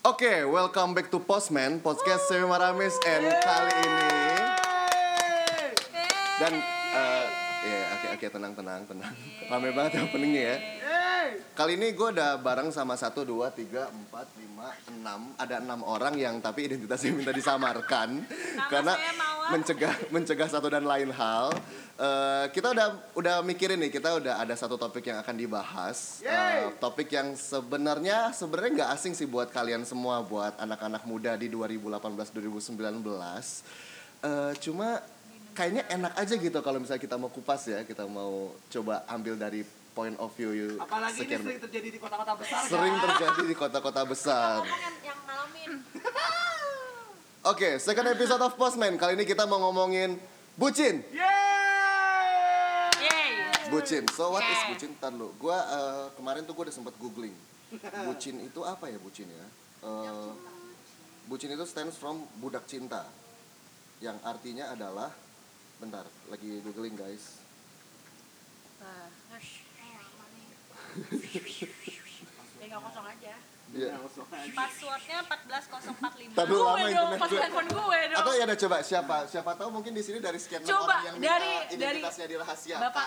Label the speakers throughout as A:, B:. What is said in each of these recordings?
A: Oke, welcome back to Postman, podcast Semi Maramis and kali ini dan eh, ya oke oke tenang tenang tenang. Rame banget ya openingnya ya. Kali ini gue udah bareng sama satu dua tiga empat lima enam ada enam orang yang tapi identitasnya minta disamarkan karena
B: saya Mawar.
A: mencegah mencegah satu dan lain hal. Eh, kita udah udah mikirin nih kita udah ada satu topik yang akan dibahas. Eh, topik yang sebenarnya sebenarnya nggak asing sih buat kalian semua buat anak-anak muda di 2018 2019. Eh, cuma kayaknya enak aja gitu kalau misalnya kita mau kupas ya kita mau coba ambil dari point of view you
C: Apalagi ini
A: sekian-
C: sering terjadi di kota-kota besar kan?
A: sering terjadi di kota-kota besar.
B: Ngomong Kan yang, yang malamin.
A: Oke, second episode of Postman kali ini kita mau ngomongin bucin.
C: Yeay!
B: Yeay.
A: Bucin. So what is
B: Yeah.
A: bucin? Ntar lu. Gua eh, kemarin tuh gua udah sempet googling. Bucin itu apa ya bucin ya? Eh, bucin itu stands from budak cinta. Yang artinya adalah bentar, lagi googling guys.
B: Tinggal kosong aja.
A: Iya.
C: Langsung aja.
B: Passwordnya 14045.
A: Tapi
B: gue
A: lama
B: dong,
A: internet
B: pas
A: gue.
B: handphone gue dong.
A: Atau ya ada coba siapa? Siapa tahu mungkin di sini dari sekian enam
B: Coba,
A: orang yang minta
B: dari- dari-
A: identitasnya dirahasiakan.
B: Bapak.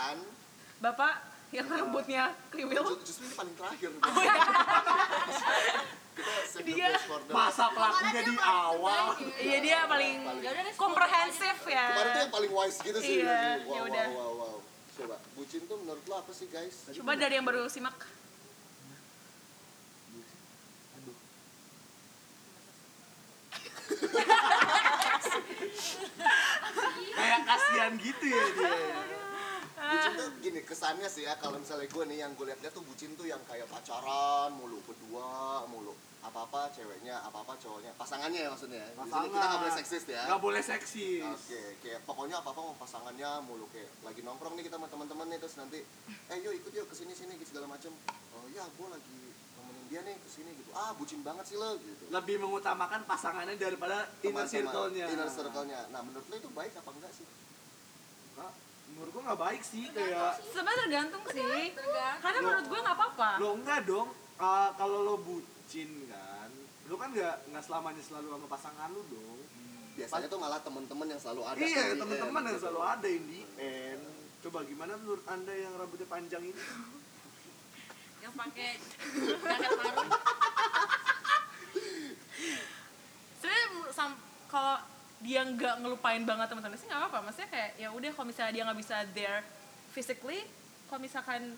B: Bapak yang rambutnya kriwil.
A: Ju- Justru ini paling terakhir. Kita save the
B: Oh, iya. Dia-
A: best for the-
C: Masa pelakunya di awal.
B: Iya dia paling komprehensif ya.
A: Kemarin tuh yang paling wise gitu sih.
B: Iya,
A: wow,
B: yaudah.
A: wow, wow, wow. Coba, bucin tuh menurut lo apa sih guys?
B: Coba dari yang baru simak.
C: Kayak kasihan gitu ya dia.
B: Ah.
A: Bucin tuh gini, kesannya sih ya kalau misalnya gue nih yang gue liat-liat tuh bucin tuh yang kayak pacaran, mulu berdua, mulu apa-apa ceweknya, apa-apa cowoknya, pasangannya ya maksudnya. ya. Di sini
C: Pasangan.
A: Kita nggak boleh seksis ya.
C: Gak boleh seksis.
A: Oke, kayak pokoknya apa apa mau pasangannya mulu kayak lagi nongkrong nih kita sama teman-teman nih terus nanti eh yuk ikut yuk kesini sini gitu segala macem. Oh ya gue lagi nemenin dia nih kesini gitu. Ah bucin banget sih lo gitu.
C: Lebih mengutamakan pasangannya daripada
A: Sama-sama
C: inner circle-nya.
A: Inner circle-nya. Nah menurut lo itu baik apa enggak sih?
C: Nggak, Nah, Menurut gua gak baik sih kayak
B: Sebenarnya tergantung sih. Karena menurut gue nggak apa-apa.
C: lo enggak dong Ah, kalau lo bucin kan lo kan nggak nggak selamanya selalu sama pasangan lo dong
A: Biasanya tuh malah teman-teman yang selalu ada.
C: iya
A: di
C: teman-teman
A: end,
C: yang
A: gitu.
C: selalu ada in the end coba gimana menurut anda yang rambutnya panjang ini
B: yang pakai jaket marun sebenarnya menurut sam- kalau dia nggak ngelupain banget teman-teman sih nggak apa-apa maksudnya kayak ya udah kalau misalnya dia nggak bisa there physically kalau misalkan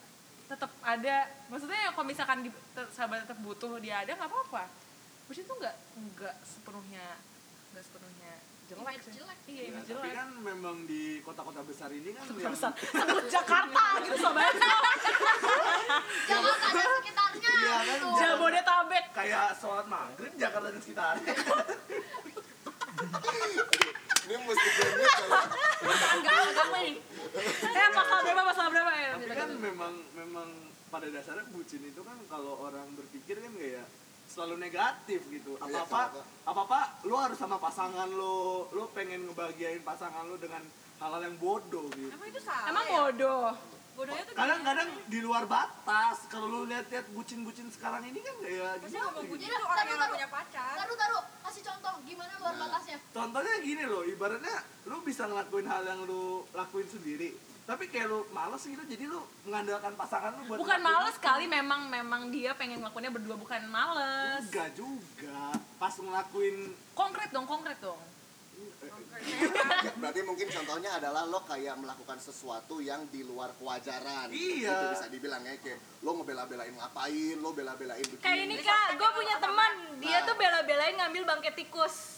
B: tetap ada maksudnya ya kalau misalkan di, te- sahabat tetap butuh dia ada nggak apa-apa Maksudnya tuh nggak nggak sepenuhnya nggak sepenuhnya jelek sih iya image
C: Ya, tapi
B: jelek
C: kan memang di kota-kota besar ini kan yang,
B: Sebesar- sebesar Jakarta gitu sobat Ya,
D: Jakarta dan sekitarnya
C: Iya, kan?
D: gitu.
B: Jabodetabek
C: kayak sholat maghrib Jakarta dan sekitarnya
A: iya. Ini mesti banget kalau
B: Enggak, enggak nih. Eh, pasal berapa, pasal berapa ya?
C: tapi kan memang memang pada dasarnya bucin itu kan kalau orang berpikir kan kayak selalu negatif gitu apa apa
A: kenapa?
C: apa apa lo harus sama pasangan lo lo pengen ngebahagiain pasangan lo dengan hal-hal yang bodoh gitu
D: itu salah
B: Emang ya? bodoh.
D: bodohnya tuh
C: kadang-kadang di luar batas kalau lo lihat-lihat bucin-bucin sekarang ini kan kayak gimana gitu.
D: itu orang yang punya pacar taruh taruh kasih contoh gimana luar
B: Nah.
D: batasnya
C: Contohnya gini loh, ibaratnya lu bisa ngelakuin hal yang lu lakuin sendiri, tapi kayak lu males gitu, jadi lu mengandalkan pasangan lu buat
B: Bukan
C: ngelakuin
B: males kali, memang memang dia pengen ngelakuinnya berdua bukan males.
C: Enggak juga, pas ngelakuin
B: Konkret dong, konkret dong.
A: berarti mungkin contohnya adalah lo kayak melakukan sesuatu yang di luar kewajaran. Itu
C: Iya.
A: bisa dibilang ya kayak lo ngebela-belain ngapain, lo bela-belain begini.
B: Kayak ini kak, gue punya teman, dia tuh bela-belain ngambil bangkai tikus.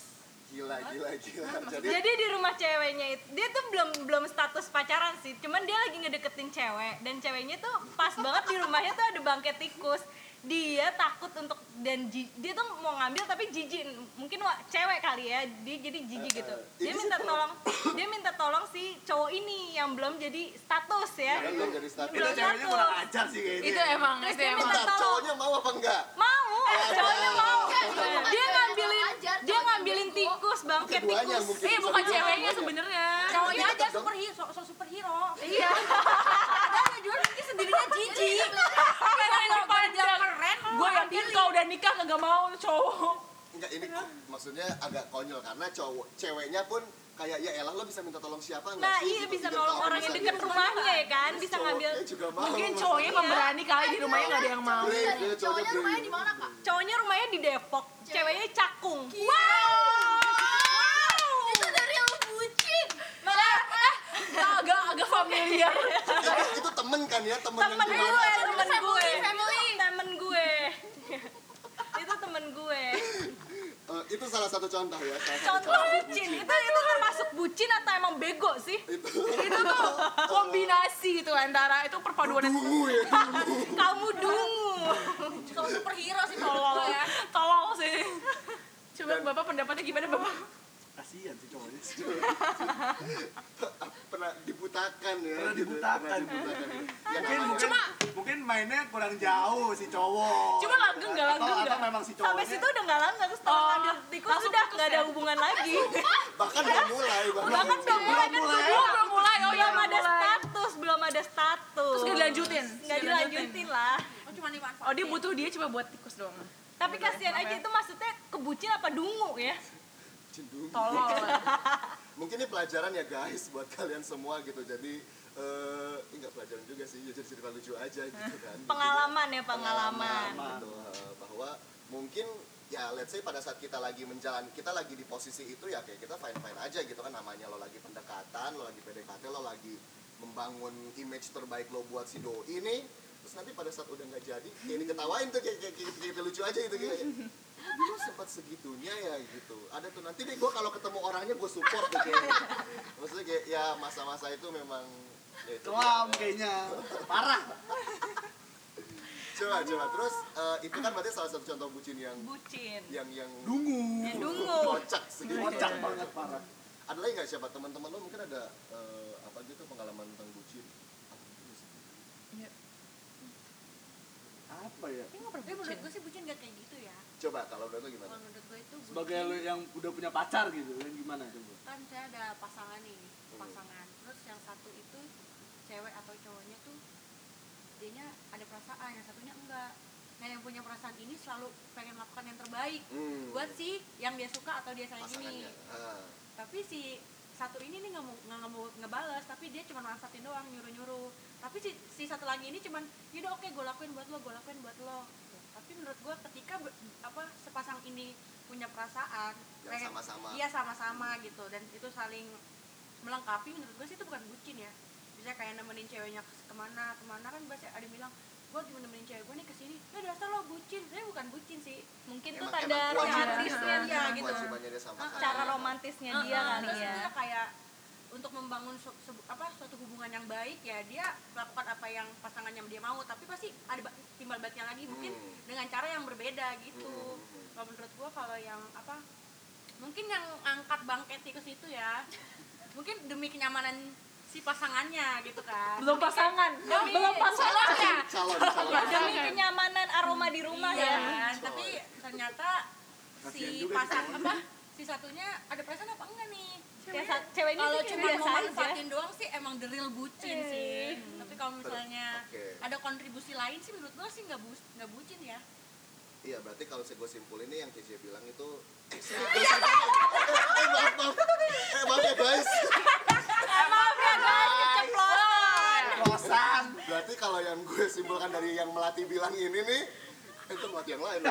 A: Gila, gila, gila. Jadi
B: Jadi di rumah ceweknya itu, dia tuh belum belum status pacaran sih, cuman dia lagi ngedeketin cewek dan ceweknya tuh pas banget di rumahnya tuh ada bangkai tikus. Dia takut untuk dan ji- dia tuh mau ngambil tapi jijik, mungkin wa- cewek kali ya, dia jadi jijik
A: eh,
B: gitu. Dia minta tolong, dia minta tolong si cowok ini yang belum jadi status ya.
A: kan belum jadi status.
C: itu
B: Belum
C: ceweknya
B: satu.
C: kurang ajar sih kayaknya.
E: itu emang
B: gitu. Terus
E: itu
B: dia
A: Bentar,
E: emang
B: minta tolong,
A: cowoknya mau apa enggak?
B: mau, Eh, cowoknya Oh, iya, mau. Dia ngambilin,
D: Iya, Ajar,
B: dia
D: cowoknya
B: ngambilin
D: bego.
B: tikus bangkai
A: Keduanya
B: tikus.
A: mungkin.
E: Iya,
A: bisa
E: bukan
A: dibilang
E: ceweknya
A: keduanya.
E: sebenarnya.
D: cowoknya
A: Tapi
D: aja
A: tetep dong.
D: superhero so, so superhero
E: Iya.
D: ada tujuan mungkin sendirinya jijik
E: Karena yang panjang keren, gue yang
D: mungkin kau udah nikah kagak mau lu cowok
A: Enggak ini kok, maksudnya agak konyol karena cowok ceweknya pun kayak ya elah lo bisa minta tolong siapa nggak
B: Nah
A: sih?"
B: iya
A: gitu,
B: bisa
A: biar
B: nolong
A: tahu
B: orang yang
A: bisa
B: deket
A: dia.
B: rumahnya ya kan Bisa
A: Terus
B: ngambil
A: cowoknya juga mau,
D: mungkin
A: maksudnya.
D: cowoknya pemberani kali di rumahnya nggak ada yang mau
A: Iya,
F: Dari
A: iya, cowoknya
F: Cowoknya rumahnya
A: beli.
F: di mana kak?
B: Cowoknya rumahnya di Depok Ceweknya cakung
F: Wow! Itu dari yang bucin. Eh, Makanya
D: agak agak familiar
A: itu, itu temen kan ya temen,
B: Temen
A: yang
B: gue,
A: gimana?
B: temen gue
F: family, family.
B: Temen gue Itu temen gue
A: Eh, itu salah satu contoh ya salah satu
B: Contoh bucin Itu itu termasuk bucin atau emang bego sih?
D: itu tuh kombinasi itu antara itu perpaduan
E: ya.
B: Kamu dungu
D: kamu superhero sih tolong ya tolong sih coba bapak pendapatnya gimana bapak
C: Kasihan sih cowoknya.
A: pernah dibutakan ya
C: Pernah
A: gitu,
C: dibutakan.
A: pernah dibutakan ya. Ya,
C: Mungkin,
A: namanya-
C: mungkin, mungkin mainnya kurang jauh si cowok.
D: Cuma langgeng nggak, langgeng
C: atau, atau
D: nggak?
C: memang si cowoknya.
B: Sampai situ udah gak langgeng Setelah
D: Oh,
B: ngambil tikus
D: langsung
B: udah
D: fokus
B: gak ada
D: ya?
B: hubungan lagi
A: bahkan udah mulai bahkan,
B: Bahkan belum mulai kan gue
D: oh belum mulai oh iya
B: Belum
D: belum
B: ada
D: mulai
B: status Belum ada status
D: terus gak dilanjutin
B: Gak dilanjutin lah
F: Oh cuma dimanfaatin.
D: oh dia butuh dia cuma buat tikus doang
B: Tapi kasihan aja itu maksudnya kebucin apa dungu ya?
A: Cendung.
D: tolong
A: mungkin ini pelajaran ya guys buat kalian semua gitu jadi eh ini nggak pelajaran juga sih ya jadi cerita lucu aja gitu kan
B: Pengalaman ya pengalaman.
A: Betul, eh, bahwa mungkin ya let's say pada saat kita lagi menjalani kita lagi di posisi itu ya kayak kita fine fine aja gitu kan namanya lo lagi pendekatan lo lagi PDKT lo lagi membangun image terbaik lo buat si doi ini terus nanti pada saat udah nggak jadi kayak ini ketawain tuh kayak kayak, kayak, kayak lucu aja gitu kayak dulu sempat segitunya ya gitu ada tuh nanti deh gue kalau ketemu orangnya gue support tuh kayaknya maksudnya kayak ya masa-masa itu memang ya itu
C: kelam
A: dia.
C: gitu. kayaknya. Parah.
A: coba coba terus eh, itu kan berarti salah satu contoh bucin yang
B: Bucin.
A: yang yang
C: Dungu.
B: Ya dungu.
A: kocak segitu
C: Kocak banget parah.
A: ada lagi nggak siapa teman-teman lo mungkin ada eh, apa gitu pengalaman tentang bucin
D: Iya.
C: Apa ya?
F: Tapi menurut gue sih bucin gak kayak gitu ya.
A: coba kalau udah tuh
F: Kalau
A: gimana
F: menurut gue itu bucin.
C: Sebagai lu yang udah punya pacar gitu kan gimana coba?
F: kan saya ada pasangan nih
A: Hmm.
F: pasangan terus yang satu itu cewek atau cowoknya tuh dianya ada perasaan yang satunya enggak nah yang punya perasaan ini selalu pengen melakukan yang terbaik
A: hmm.
F: buat si yang dia suka atau dia sayang ini
A: pasangannya Ah,
F: tapi si satu ini nih nggak mau nggak nggak mau ngebales tapi dia cuma merasatin doang nyuruh nyuruh tapi si, si satu lagi ini cuman yaudah oke gue lakuin buat lo gue lakuin buat lo tapi menurut gue ketika be- apa sepasang ini punya perasaan
A: yang
F: pengen-
A: sama-sama
F: Iya sama-sama gitu dan itu saling melengkapi menurut gue sih itu bukan bucin ya bisa kayak nemenin ceweknya ke- kemana kemana kan biasa ada yang bilang gue cuma nemenin cewek gue nih kesini ya dasar lo bucin saya bukan bucin sih
B: Mungkin tuh
A: Emang-
B: tanda
A: emang kewajiban-
B: romantisnya
A: emang
B: dia gitu.
A: kewajibannya dia sama
F: Cara
B: Cara
A: kalian.
B: romantisnya
D: Ah,
B: dia
F: Uh-uh,
B: kali
F: terus
B: ya.
F: juga kayak untuk membangun su- sebu- apa suatu hubungan yang baik ya dia melakukan apa yang pasangannya dia mau tapi pasti ada ba- timbal baliknya lagi mungkin
A: Hmm.
F: dengan cara yang berbeda gitu
A: Hmm.
F: kalau menurut gua kalau yang apa mungkin yang angkat bangke tikus itu ya mungkin demi kenyamanan si pasangannya gitu kan
D: belum pasangan belum pasangan
F: Salahnya.
A: calon calon
B: Demi kenyamanan aroma di rumah
F: Iya,
B: ya.
F: kan? tapi ternyata
C: Kasihan
F: si
C: juga gitu.
F: pasang
C: sih.
F: apa si satunya ada perasaan apa enggak nih
B: Kayak sa- ceweknya
F: kalau
B: sih kayak
F: cuma mau
B: biasa aja.
F: manfaatin doang sih emang the real bucin
B: Eh.
F: sih tapi kalau misalnya
A: Oke.
F: ada kontribusi lain sih menurut gua sih nggak bu nggak bucin ya
A: iya berarti kalau saya gue simpul ini yang Cici bilang itu eh, eh, maaf maaf eh maaf ya guys
B: Keceplosan.
C: Kosan.
A: berarti kalau yang gue simpulkan dari yang melati bilang ini nih itu melati yang lain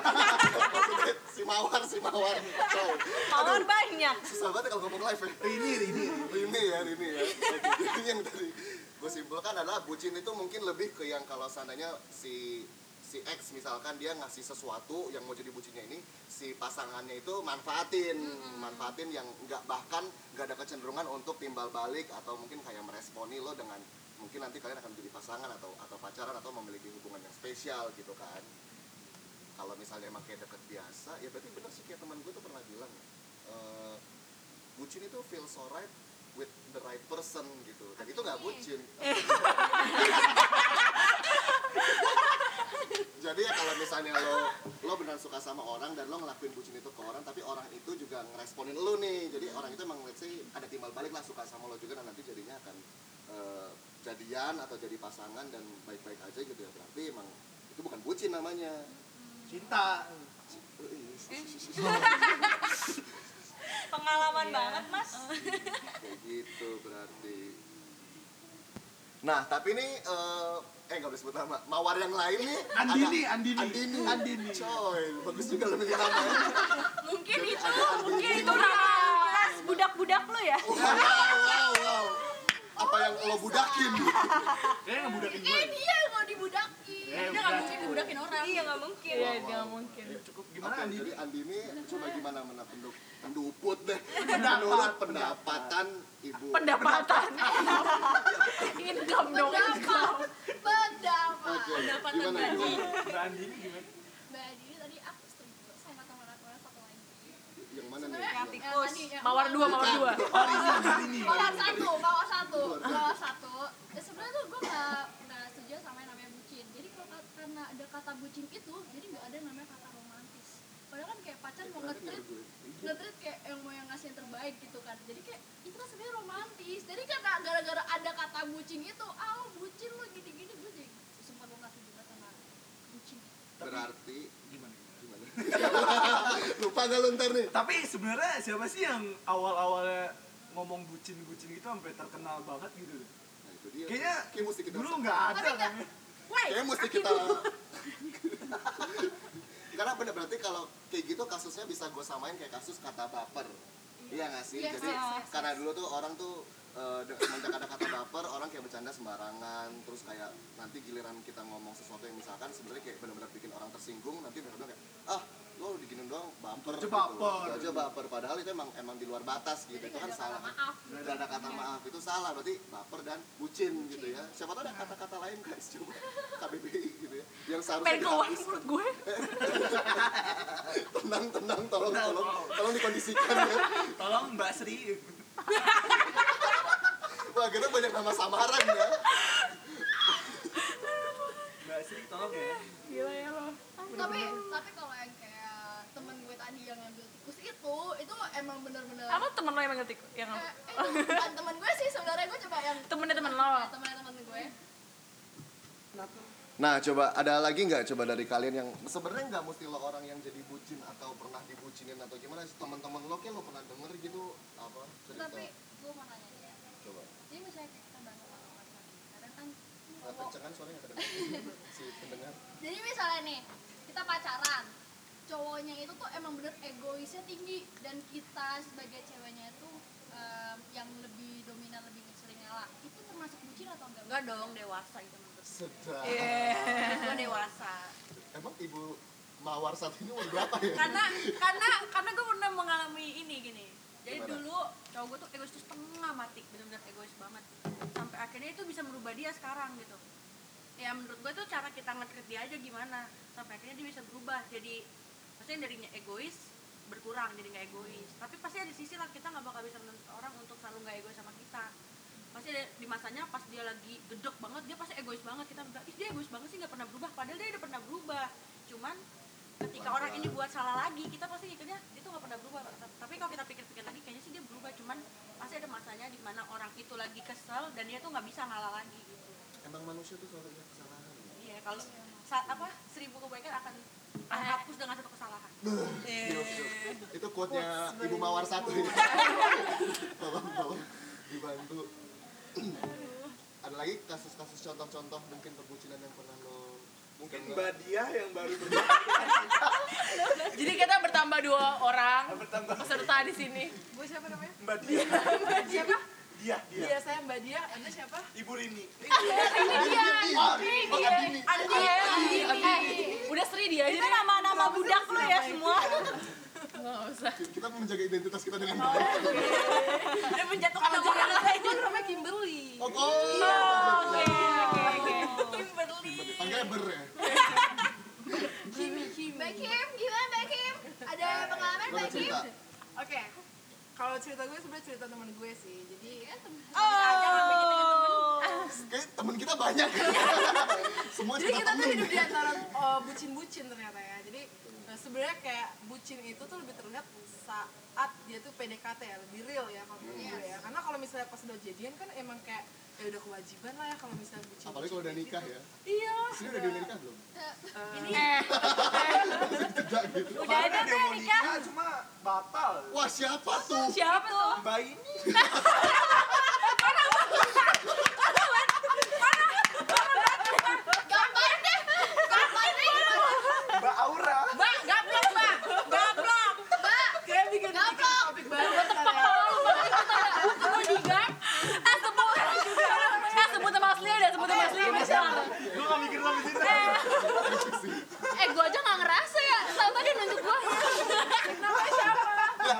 A: si mawar si mawar coy
B: Mawar banyak.
A: susah banget ya kalau ngomong live ya
C: Ini ini.
A: ini ya ini ya ini yang tadi gue simpulkan adalah bucin itu mungkin lebih ke yang kalau seandainya si si X misalkan dia ngasih sesuatu yang mau jadi bucinnya ini si pasangannya itu manfaatin manfaatin yang nggak bahkan nggak ada kecenderungan untuk timbal balik atau mungkin kayak meresponi lo dengan mungkin nanti kalian akan jadi pasangan atau atau pacaran atau memiliki hubungan yang spesial gitu kan kalau misalnya emang kayak deket biasa ya berarti bener sih kayak teman gue tuh pernah bilang ya, eh, bucin itu feels alright with the right person gitu dan itu nggak bucin jadi ya kalau misalnya lo lo benar suka sama orang dan lo ngelakuin bucin itu ke orang tapi orang itu juga ngeresponin lo nih jadi orang itu emang let's say ada timbal balik lah suka sama lo juga dan nanti jadinya akan eh, jadian atau jadi pasangan dan baik-baik aja gitu ya berarti emang itu bukan bucin namanya
C: cinta
B: Pengalaman
D: Iya.
B: banget, Mas.
C: Kayak gitu berarti
A: Nah, tapi ini eh eh nggak boleh sebut nama. Mawar yang lain nih.
C: Andini,
A: ada-
C: Andini.
A: Andini,
C: Andini.
A: Coy, bagus juga lo milih nama. ya.
B: mungkin
A: Jadi
B: itu,
A: ada Andini.
B: mungkin itu nama kelas budak-budak lu ya.
A: Wow, wow, wow. Apa yang lo budakin?
C: kayaknya ngebudakin gue
D: Eh dia mau dibudakin.
C: Eh,
D: dia nggak
C: budak.
D: mungkin dibudakin orang.
B: Iya, nggak mungkin.
E: Iya, dia mungkin.
C: cukup
A: Gimana
C: gimana Andini
A: Jadi Andini coba gimana mana penduk penduput deh. Menurut pendapatan ibu.
E: Pendapatan. income dong.
D: Pendapat.
A: Oke,
D: Pendapat.
A: gimana
D: Mbak
A: ibu?
C: Mbak Andini gimana
D: Mbak Dini tadi aku setuju sama teman aku yang satu lagi.
A: Yang mana nih?
D: Sebenarnya
A: Yang-
D: eh, tadi ya,
E: Mawar dua, mawar dua.
C: Oh, Andini
D: Mawar satu, mawar satu, mawar satu. Ya, sebenarnya tuh gue nggak nggak setuju sama yang namanya bucin. Jadi kalau kat- karena ada kata bucin itu, jadi nggak ada namanya kata romantis. Padahal kan kayak pacar
A: Iya,
D: mau ngetrit ngetrit Nah, kayak yang mau yang ngasih yang terbaik gitu kan jadi kayak itu kan sebenarnya romantis jadi karena gara-gara ada kata bucin itu ah lu bucin lu gini-gini gue jadi sumpah gue nggak setuju banget sama bucin
A: Berarti
C: gimana gimana?
A: gimana? Lupa gak lo ntar nih?
C: tapi sebenarnya siapa sih yang awal-awalnya ngomong bucin-bucin gitu sampai terkenal banget gitu loh?
A: Nah, itu dia.
C: kayaknya
A: Kayaknya mesti kita
C: dulu nggak ada
D: Tapi nggak-
C: namanya.
D: wait
A: Kayaknya mesti kita Karena bener berarti kalau kayak gitu kasusnya bisa gue samain kayak kasus kata baper Iya nggak sih?
D: Yes,
A: Jadi
D: yes, yes,
A: karena dulu tuh orang tuh eh, de- semenjak ada kata baper orang kayak bercanda sembarangan terus kayak nanti giliran kita ngomong sesuatu yang misalkan sebenarnya kayak benar-benar bikin orang tersinggung nanti benar-benar kayak ah lo diginin doang baper
C: aja
A: gitu.
C: baper.
A: Itu aja baper padahal itu emang emang di luar batas gitu itu kan salah nggak ada kata maaf itu salah berarti baper dan bucin gitu ya siapa tahu ada kata-kata lain guys coba KBBI gitu ya yang seharusnya
E: Pengen keluar
A: dihapus.
E: mulut gue.
A: tenang tenang tolong
C: Tenang,
A: tolong
C: tolong.
A: tolong dikondisikan ya
C: tolong Mbak Sri
A: wah kita banyak nama samaran ya
C: Mbak Sri tolong ya
E: Gila ya lo.
D: tapi tapi kalau yang kayak temen gue tadi yang ngambil tikus itu itu emang bener-bener
E: Apa temen lo yang ngetik? Yang
D: Eh, eh, bukan temen gue sih sebenarnya gue coba yang
E: temennya temen lo.
D: eh, temennya temen gue
A: nah coba ada lagi nggak coba dari kalian yang sebenarnya nggak mesti lo orang yang jadi bucin atau pernah dibucinin atau gimana sih teman-teman lo kayak lo pernah denger gitu apa cerita
D: tapi gue mau nanya dia
A: coba
D: jadi misalnya kayak kita bangun sama pacar kadang kan
A: Nah,
D: cowok-
A: kenceng kan suaranya nggak kedengar si pendengar
D: Jadi misalnya nih, kita pacaran, cowoknya itu tuh emang bener egoisnya tinggi dan kita sebagai ceweknya itu em, yang lebih dominan, lebih sering ngalah. Itu termasuk bucin atau enggak?
F: Enggak dong, dewasa itu menurut
A: sedap
E: Iya.
F: gue dewasa.
A: emang ibu mawar saat ini umur berapa ya
F: Karena karena karena gue pernah mengalami ini gini. Jadi
A: Gimana?
F: dulu cowok gue tuh egois tuh setengah mati, benar-benar egois banget. Sampai akhirnya itu bisa merubah dia sekarang gitu. Ya menurut gue tuh cara kita nge-treat dia aja gimana. Sampai akhirnya dia bisa berubah jadi maksudnya dari egois berkurang jadi nggak egois. Tapi pasti ada sisi lah kita nggak bakal bisa menuntut orang untuk selalu nggak egois sama kita. pasti ada- di masanya pas dia lagi gedek banget dia pasti egois banget kita bilang ih dia egois banget sih nggak pernah berubah padahal dia udah pernah berubah cuman ketika orang ini buat salah lagi kita pasti mikirnya itu nggak pernah berubah T- tapi kalau kita pikir-pikir lagi kayaknya sih dia berubah cuman pasti ada masanya di mana orang itu lagi kesel dan dia tuh nggak bisa ngalah lagi gitu
A: emang manusia tuh selalu punya kesalahan ya?
F: iya kalau saat apa seribu kebaikan akan terhapus dengan satu kesalahan
E: Iya.
A: itu quote-nya Ibu Mawar satu ya. tolong tolong dibantu ada lagi kasus-kasus contoh-contoh mungkin perbucinan yang pernah lo
C: mungkin Kan Mbak
A: dengar?
C: Dia yang baru berjalan
E: Jadi kita bertambah dua orang
C: bertambah
E: peserta di sini.
F: gue siapa namanya
C: Mbak Dia
E: Mbak siapa?
C: Dia Dia
E: Iya, saya Mbak Dia. Anda siapa?
C: Ibu Rini
A: Oh, Andini.
B: Iya,
E: Udah Sri dia aja.
B: Itu nama-nama budak lu ya semua.
E: Enggak usah.
A: kita mau menjaga identitas kita dengan baik
F: dan menjatuhkan nama orang lain gue namanya Kimberly
A: oh, oh.
E: Oke, oke, oke.
F: Kimberly
A: panggilnya ber ya
D: Mbak Kim, gimana Mbak Kim? Ada pengalaman
A: lo ada
D: Mbak Kim?
A: cerita
G: Oke. Kalau cerita gue sebenarnya cerita teman gue sih. Jadi
D: Iya,
A: kayak temen kita banyak semua
G: jadi
A: cerita
G: kita tuh
A: temen
G: hidup di antara uh, bucin-bucin ternyata ya. Jadi uh, sebenarnya kayak bucin itu tuh lebih terlihat saat dia tuh PDKT ya, lebih real ya kalau menurut gue ya. Karena kalau misalnya pas udah jadian kan emang kayak ya udah kewajiban lah ya kalau misalnya bucin
A: Apalagi kalau udah nikah ya.
G: iya
A: Sini udah udah nikah belum?
F: Udah ada
C: dia
F: tuh yang
C: mau
F: nikah.
C: nikah cuma batal
A: gitu. Wah siapa tuh?
B: Siapa tuh?
C: mbak ini
B: Gampang deh. Gampang deh.
C: mbak Aura
B: Mbak, gaplok, Mbak. Gaplok. Mbak,
G: kayak bikin bikin topik baru kali ya.
B: lu digan. Eh, sebut. Eh, sebut nama aslinya deh, sebut nama aslinya.
C: gue gak mikir sampai situ
B: Eh, gua aja gak ngerasa ya. Tahu tadi nunjuk gua.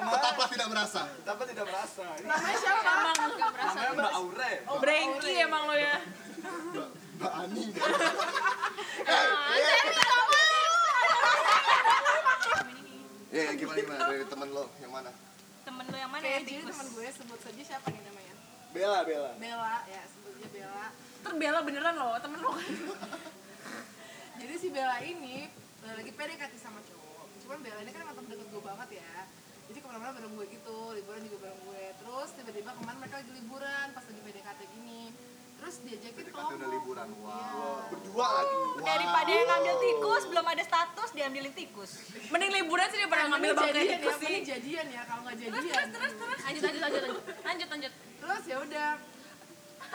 A: Tetaplah tidak merasa.
C: tapi tidak merasa Ini
G: namanya siapa
B: Emang gak merasa.
C: namanya mbak Aura ya Mbak?
B: Brengki emang lo ya.
A: Mbak Eh, Ani. Eh,
E: Ya, ya, gimana gimana dari temen lo yang mana?
F: Temen lu yang mana ya?
G: kayak jadi
F: Tikus?
G: teman gue sebut saja siapa nih namanya
C: Bella Bella
G: Bella ya sebutnya Bella
B: Terbela beneran loh, temen lo.
G: jadi si Bella ini eh, lagi PDKT sama cowok cuman Bella ini kan emang temen deket gue banget ya jadi kemana-mana bareng gue gitu liburan juga bareng gue terus tiba-tiba kemarin mereka lagi liburan pas lagi PDKT gini terus diajakin Iya. ke
E: PDKT udah
G: Lombok.
E: liburan. Wow.
C: berdua lagi
F: Daripada yang ngambil tikus, belum ada status, diambilin tikus.
B: Mending liburan sih daripada
G: Nah,
B: ngambil
G: mending
B: bangkai
G: jadian ya,
B: tikus sih.
G: mending jadian ya kalau nggak jadian.
B: Lanjut, lanjut, lanjut, lanjut. Lanjut, lanjut.
G: terus ya udah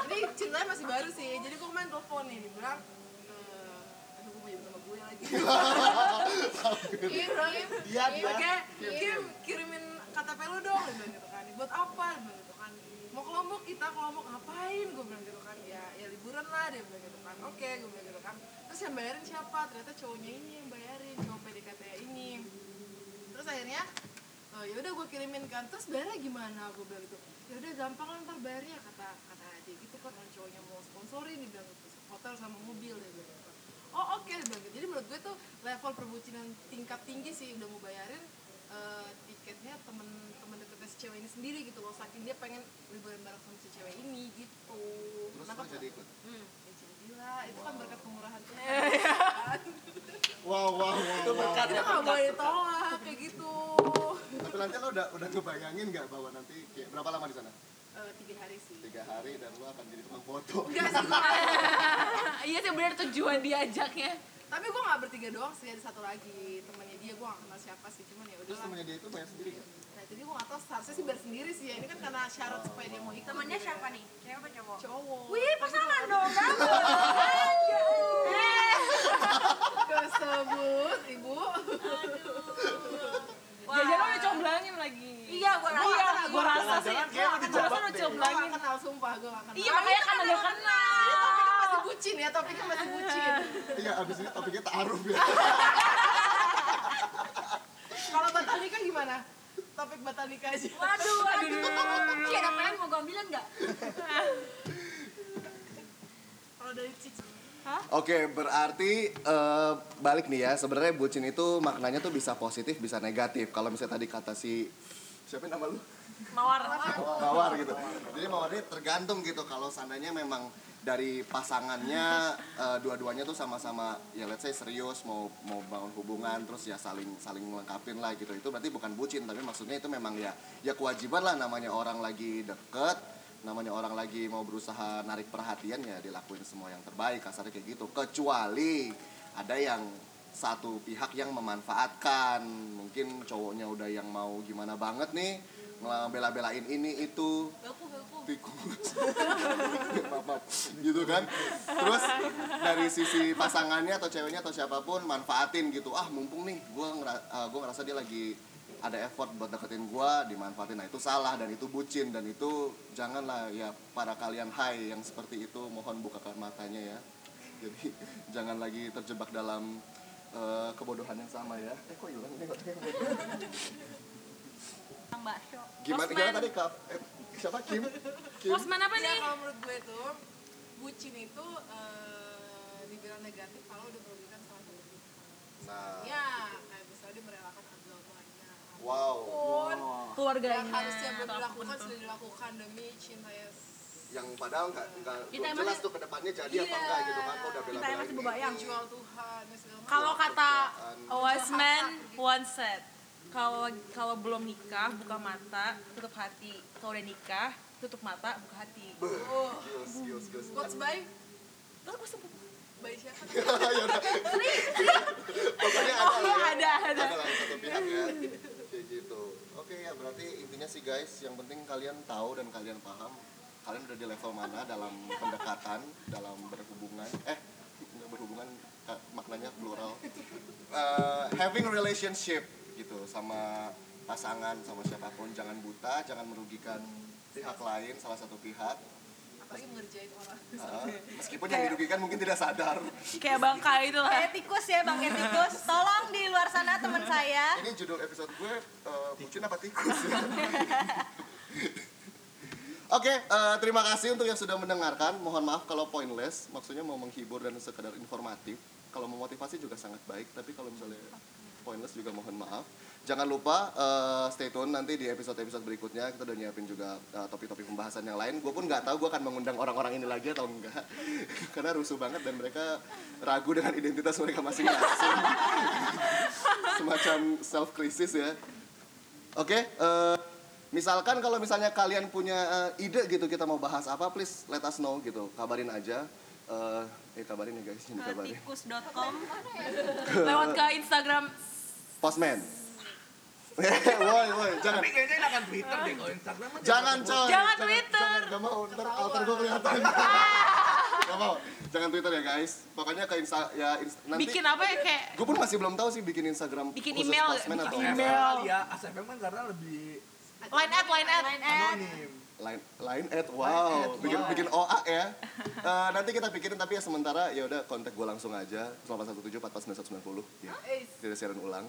G: ini ceritanya masih baru sih jadi gue kemarin telepon nih dibilang eh, aduh gue mau nyebut nama gue lagi kirim
C: gitu. Dia, dia.
G: pakai kirim Iya, kirimin KTP lu dong dia bilang gitu kan buat apa dia bilang gitu kan mau ke Lombok kita ke Lombok ngapain gue bilang gitu kan ya ya liburan lah dia bilang gitu kan oke gue bilang gitu kan terus yang bayarin siapa ternyata cowoknya ini yang bayarin cowok PDKT ini terus akhirnya oh, ya udah gue kirimin kan terus bayarnya gimana gue bilang gitu ya udah gampang lah ntar bayarnya kata kata aja gitu kan orang cowoknya mau sponsorin dia bilang gitu hotel sama mobil dia bilang gitu oh oke dia bilang gitu jadi menurut gue tuh level perbucinan tingkat tinggi sih udah mau bayarin eh, tiketnya temen temen deketnya si cewek ini sendiri gitu loh saking dia pengen liburan bareng sama si cewek ini gitu
A: Terus
G: Kenapa
A: lo jadi ikut.
G: Ya, jadilah itu kan berkat kemurahan tuh
A: Wow wow wow. wow.
G: kita nggak boleh tolak kayak gitu
A: Tapi nanti lo udah udah ngebayangin nggak bahwa nanti kayak berapa lama di sana?
G: Eh, tiga hari sih
A: Tiga hari dan lo akan jadi tukang foto.
G: Enggak sih, gua-
B: Iya sih bener tujuan diajaknya.
G: tapi gue gak bertiga doang sih, ada satu lagi temennya dia, gue gak kenal siapa sih, cuman ya udah
A: Terus temennya dia itu bayar sendiri kan? nggak?
G: Nah itu dia gue gak tau, seharusnya sih biar sendiri sih ya, ini kan karena syarat supaya dia mau ikut
H: Temennya
G: gitu ya.
H: siapa nih? Cewek apa cowok?
G: Cowok
F: Wih, pasangan dong, kan?
G: Kesebut, ibu
B: Jajan lo udah comblangin lagi.
H: Iya, gua rasa.
B: Iya, gua rasa sih.
C: Jangan-jangan kayak lo
B: Gua rasa
C: dijebak deh.
B: udah
G: Gue gak
B: comblangin.
G: kenal, sumpah gue gak kenal
B: Iya makanya kan ada
G: Ini
F: Iya,
B: kenal.
G: topiknya
F: kan
G: masih bucin ya, topiknya masih bucin
A: Iya abis ini topiknya taruh ya.
G: Kalau batal nikah gimana? Topik batal nikah aja
H: Waduh, aduh. Iya, ada pengen mau gua ambilin enggak?
G: Kalau dari Cici
E: Oke, berarti eh, balik nih ya. Sebenarnya bucin itu maknanya tuh bisa positif, bisa negatif. Kalau misalnya tadi kata si siapa nama lu?
B: Mawar.
E: Mawar gitu. Jadi mawarnya tergantung gitu kalau seandainya memang dari pasangannya eh, dua-duanya tuh sama-sama ya let's say serius mau mau bangun hubungan terus ya saling saling melengkapin lah gitu. Itu berarti bukan bucin tapi maksudnya itu memang ya ya kewajiban lah namanya orang lagi deket namanya orang lagi mau berusaha narik perhatian ya dilakuin semua yang terbaik kasarnya kayak gitu kecuali ada yang satu pihak yang memanfaatkan mungkin cowoknya udah yang mau gimana banget nih ngelah- bela-belain ini itu tikus Maaf, maaf. gitu kan terus dari sisi pasangannya atau ceweknya atau siapapun manfaatin gitu ah mumpung nih gue ngerasa dia lagi ada effort buat deketin gue dimanfaatin nah itu salah dan itu bucin dan itu janganlah ya para kalian hai yang seperti itu mohon bukakan matanya ya jadi jangan lagi terjebak dalam eh, kebodohan yang sama ya eh kok hilang ini kok
F: Mbak Syok.
E: gimana
B: Osman.
E: gimana tadi kak eh, siapa Kim Kim
B: Posman apa
G: Ya
B: nih?
G: kalau menurut gue tuh bucin itu eh, dibilang negatif kalau udah merugikan salah satu pihak.
E: nah
G: Ya, kayak misalnya dia merelakan agamanya.
E: wow
G: Pun
B: Keluarganya.
G: yang harusnya belum
B: Iya, atau apapun
G: dilakukan
B: itu.
G: sudah dilakukan demi cinta ya.
E: yang padahal nggak nggak
H: Kita
E: belum
H: emang- Iya.
E: jelas tuh kedepannya jadi apa enggak gitu kan lo udah bela
H: Kita masih berbayang.
G: Jual Tuhan dan segala macam.
B: Kalau kata Wiseman one set. Kalau kalau belum nikah buka mata tutup hati. Kalau udah nikah tutup mata buka hati.
E: gius gius
G: quotes by terus gue sebut by siapa
E: ya udah. Pokoknya ada lah ya.
B: Oh, ada ada
E: Ada lah yang satu pihak ya. Kayak gitu. Oke ya berarti intinya sih guys, yang penting kalian tahu dan kalian paham kalian udah di level mana dalam pendekatan, dalam berhubungan. Eh, nggak berhubungan eh, maknanya plural. Eh, having relationship gitu sama pasangan sama siapapun jangan buta jangan merugikan pihak lain salah satu pihak
G: apalagi ngerjain orang
E: Eh, meskipun yang dirugikan mungkin tidak sadar
B: kayak bangka itu lah
F: Kayak tikus ya Bang kayak tikus. Tolong di luar sana teman saya.
E: ini judul episode gue eh, bucin apa tikus ya? Oke, eh, terima kasih untuk yang sudah mendengarkan. Mohon maaf kalau pointless, maksudnya mau menghibur dan sekedar informatif. Kalau memotivasi juga sangat baik, tapi kalau misalnya pointless juga mohon maaf. Jangan lupa eh, stay tune nanti di episode-episode berikutnya kita udah nyiapin juga eh, topik-topik pembahasan yang lain. Gue pun nggak tahu gue akan mengundang orang-orang ini lagi atau enggak, karena rusuh banget dan mereka ragu dengan identitas mereka masing-masing. Semacam self crisis ya. Oke, eh, misalkan kalau misalnya kalian punya eh, ide gitu kita mau bahas apa, please let us know gitu, kabarin aja. Eh, eh kabarin ya guys, ini
F: Ke
E: kabarin.
F: tikus.com
B: lewat ke Instagram
E: Postman. woi, woi, jangan.
C: Tapi kayaknya enakan Twitter deh kalau Instagram kan mah
E: Jangan coy.
B: Jangan Twitter.
E: Jangan, gak mau, ntar alter gue kelihatan. gak mau. Jangan Twitter ya guys. Pokoknya ke Insta ya Insta- nanti.
B: bikin apa ya kayak
E: Gue pun masih belum tahu sih bikin Instagram
B: Bikin
E: khusus
B: email,
E: Postman
B: bikin
E: atau
B: email.
C: ya ASFM kan karena lebih
B: line at line at
C: anonim
E: lain lain at wow bikin bikin OA ya Eh, nanti kita pikirin tapi ya sementara ya udah kontak gue langsung aja 0817 149190 ya tidak siaran ulang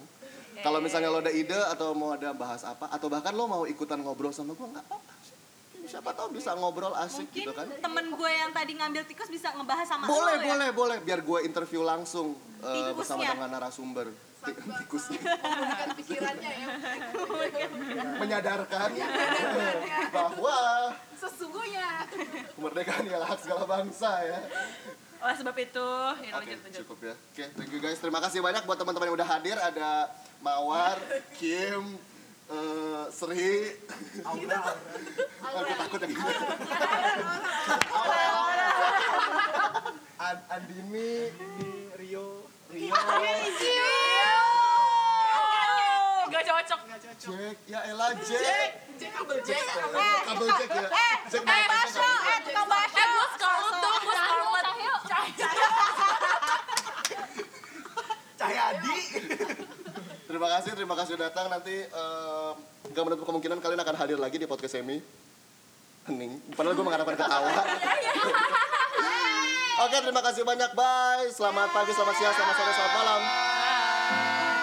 E: kalau misalnya lo ada ide atau mau ada bahas apa atau bahkan lo mau ikutan ngobrol sama gue nggak apa-apa sih. siapa tahu bisa ngobrol asik
F: mungkin
E: gitu kan
F: temen gue yang tadi ngambil tikus bisa ngebahas sama
E: boleh
F: lo ya.
E: boleh boleh biar gue interview langsung eh,
F: Tikusnya.
E: bersama dengan narasumber Ti- tikusnya
G: memulihkan pikirannya ya
E: menyadarkan bahwa
G: sesungguhnya
E: kemerdekaan ialah hak segala bangsa ya
B: oleh sebab itu ya
E: Oke,
B: lanjut lanjut
E: cukup ya. Oke, thank you guys. Terima kasih banyak buat teman-teman yang udah hadir. Ada Mawar, Kim, eh, Sri.
C: Aura
E: Aku takut yang gitu. Ad- Andini,
C: ini Rio
E: Rio,
B: gak Oh, cocok
E: Jack, ya elah Jack.
G: Jack
E: Kabel Jack ya. Jack
F: Kang Basro, eh Kang Basro.
B: eh gue Scarlett dong gue Scarlett
C: Cahyadi
E: Terima kasih, terima kasih sudah datang. Nanti eh, nggak menutup kemungkinan kalian akan hadir lagi di podcast semi. Hening. Padahal gue mengharapkan ketawa. Oke, terima kasih banyak. Bye. Selamat pagi, selamat siang, selamat sore, selamat malam.
B: Bye.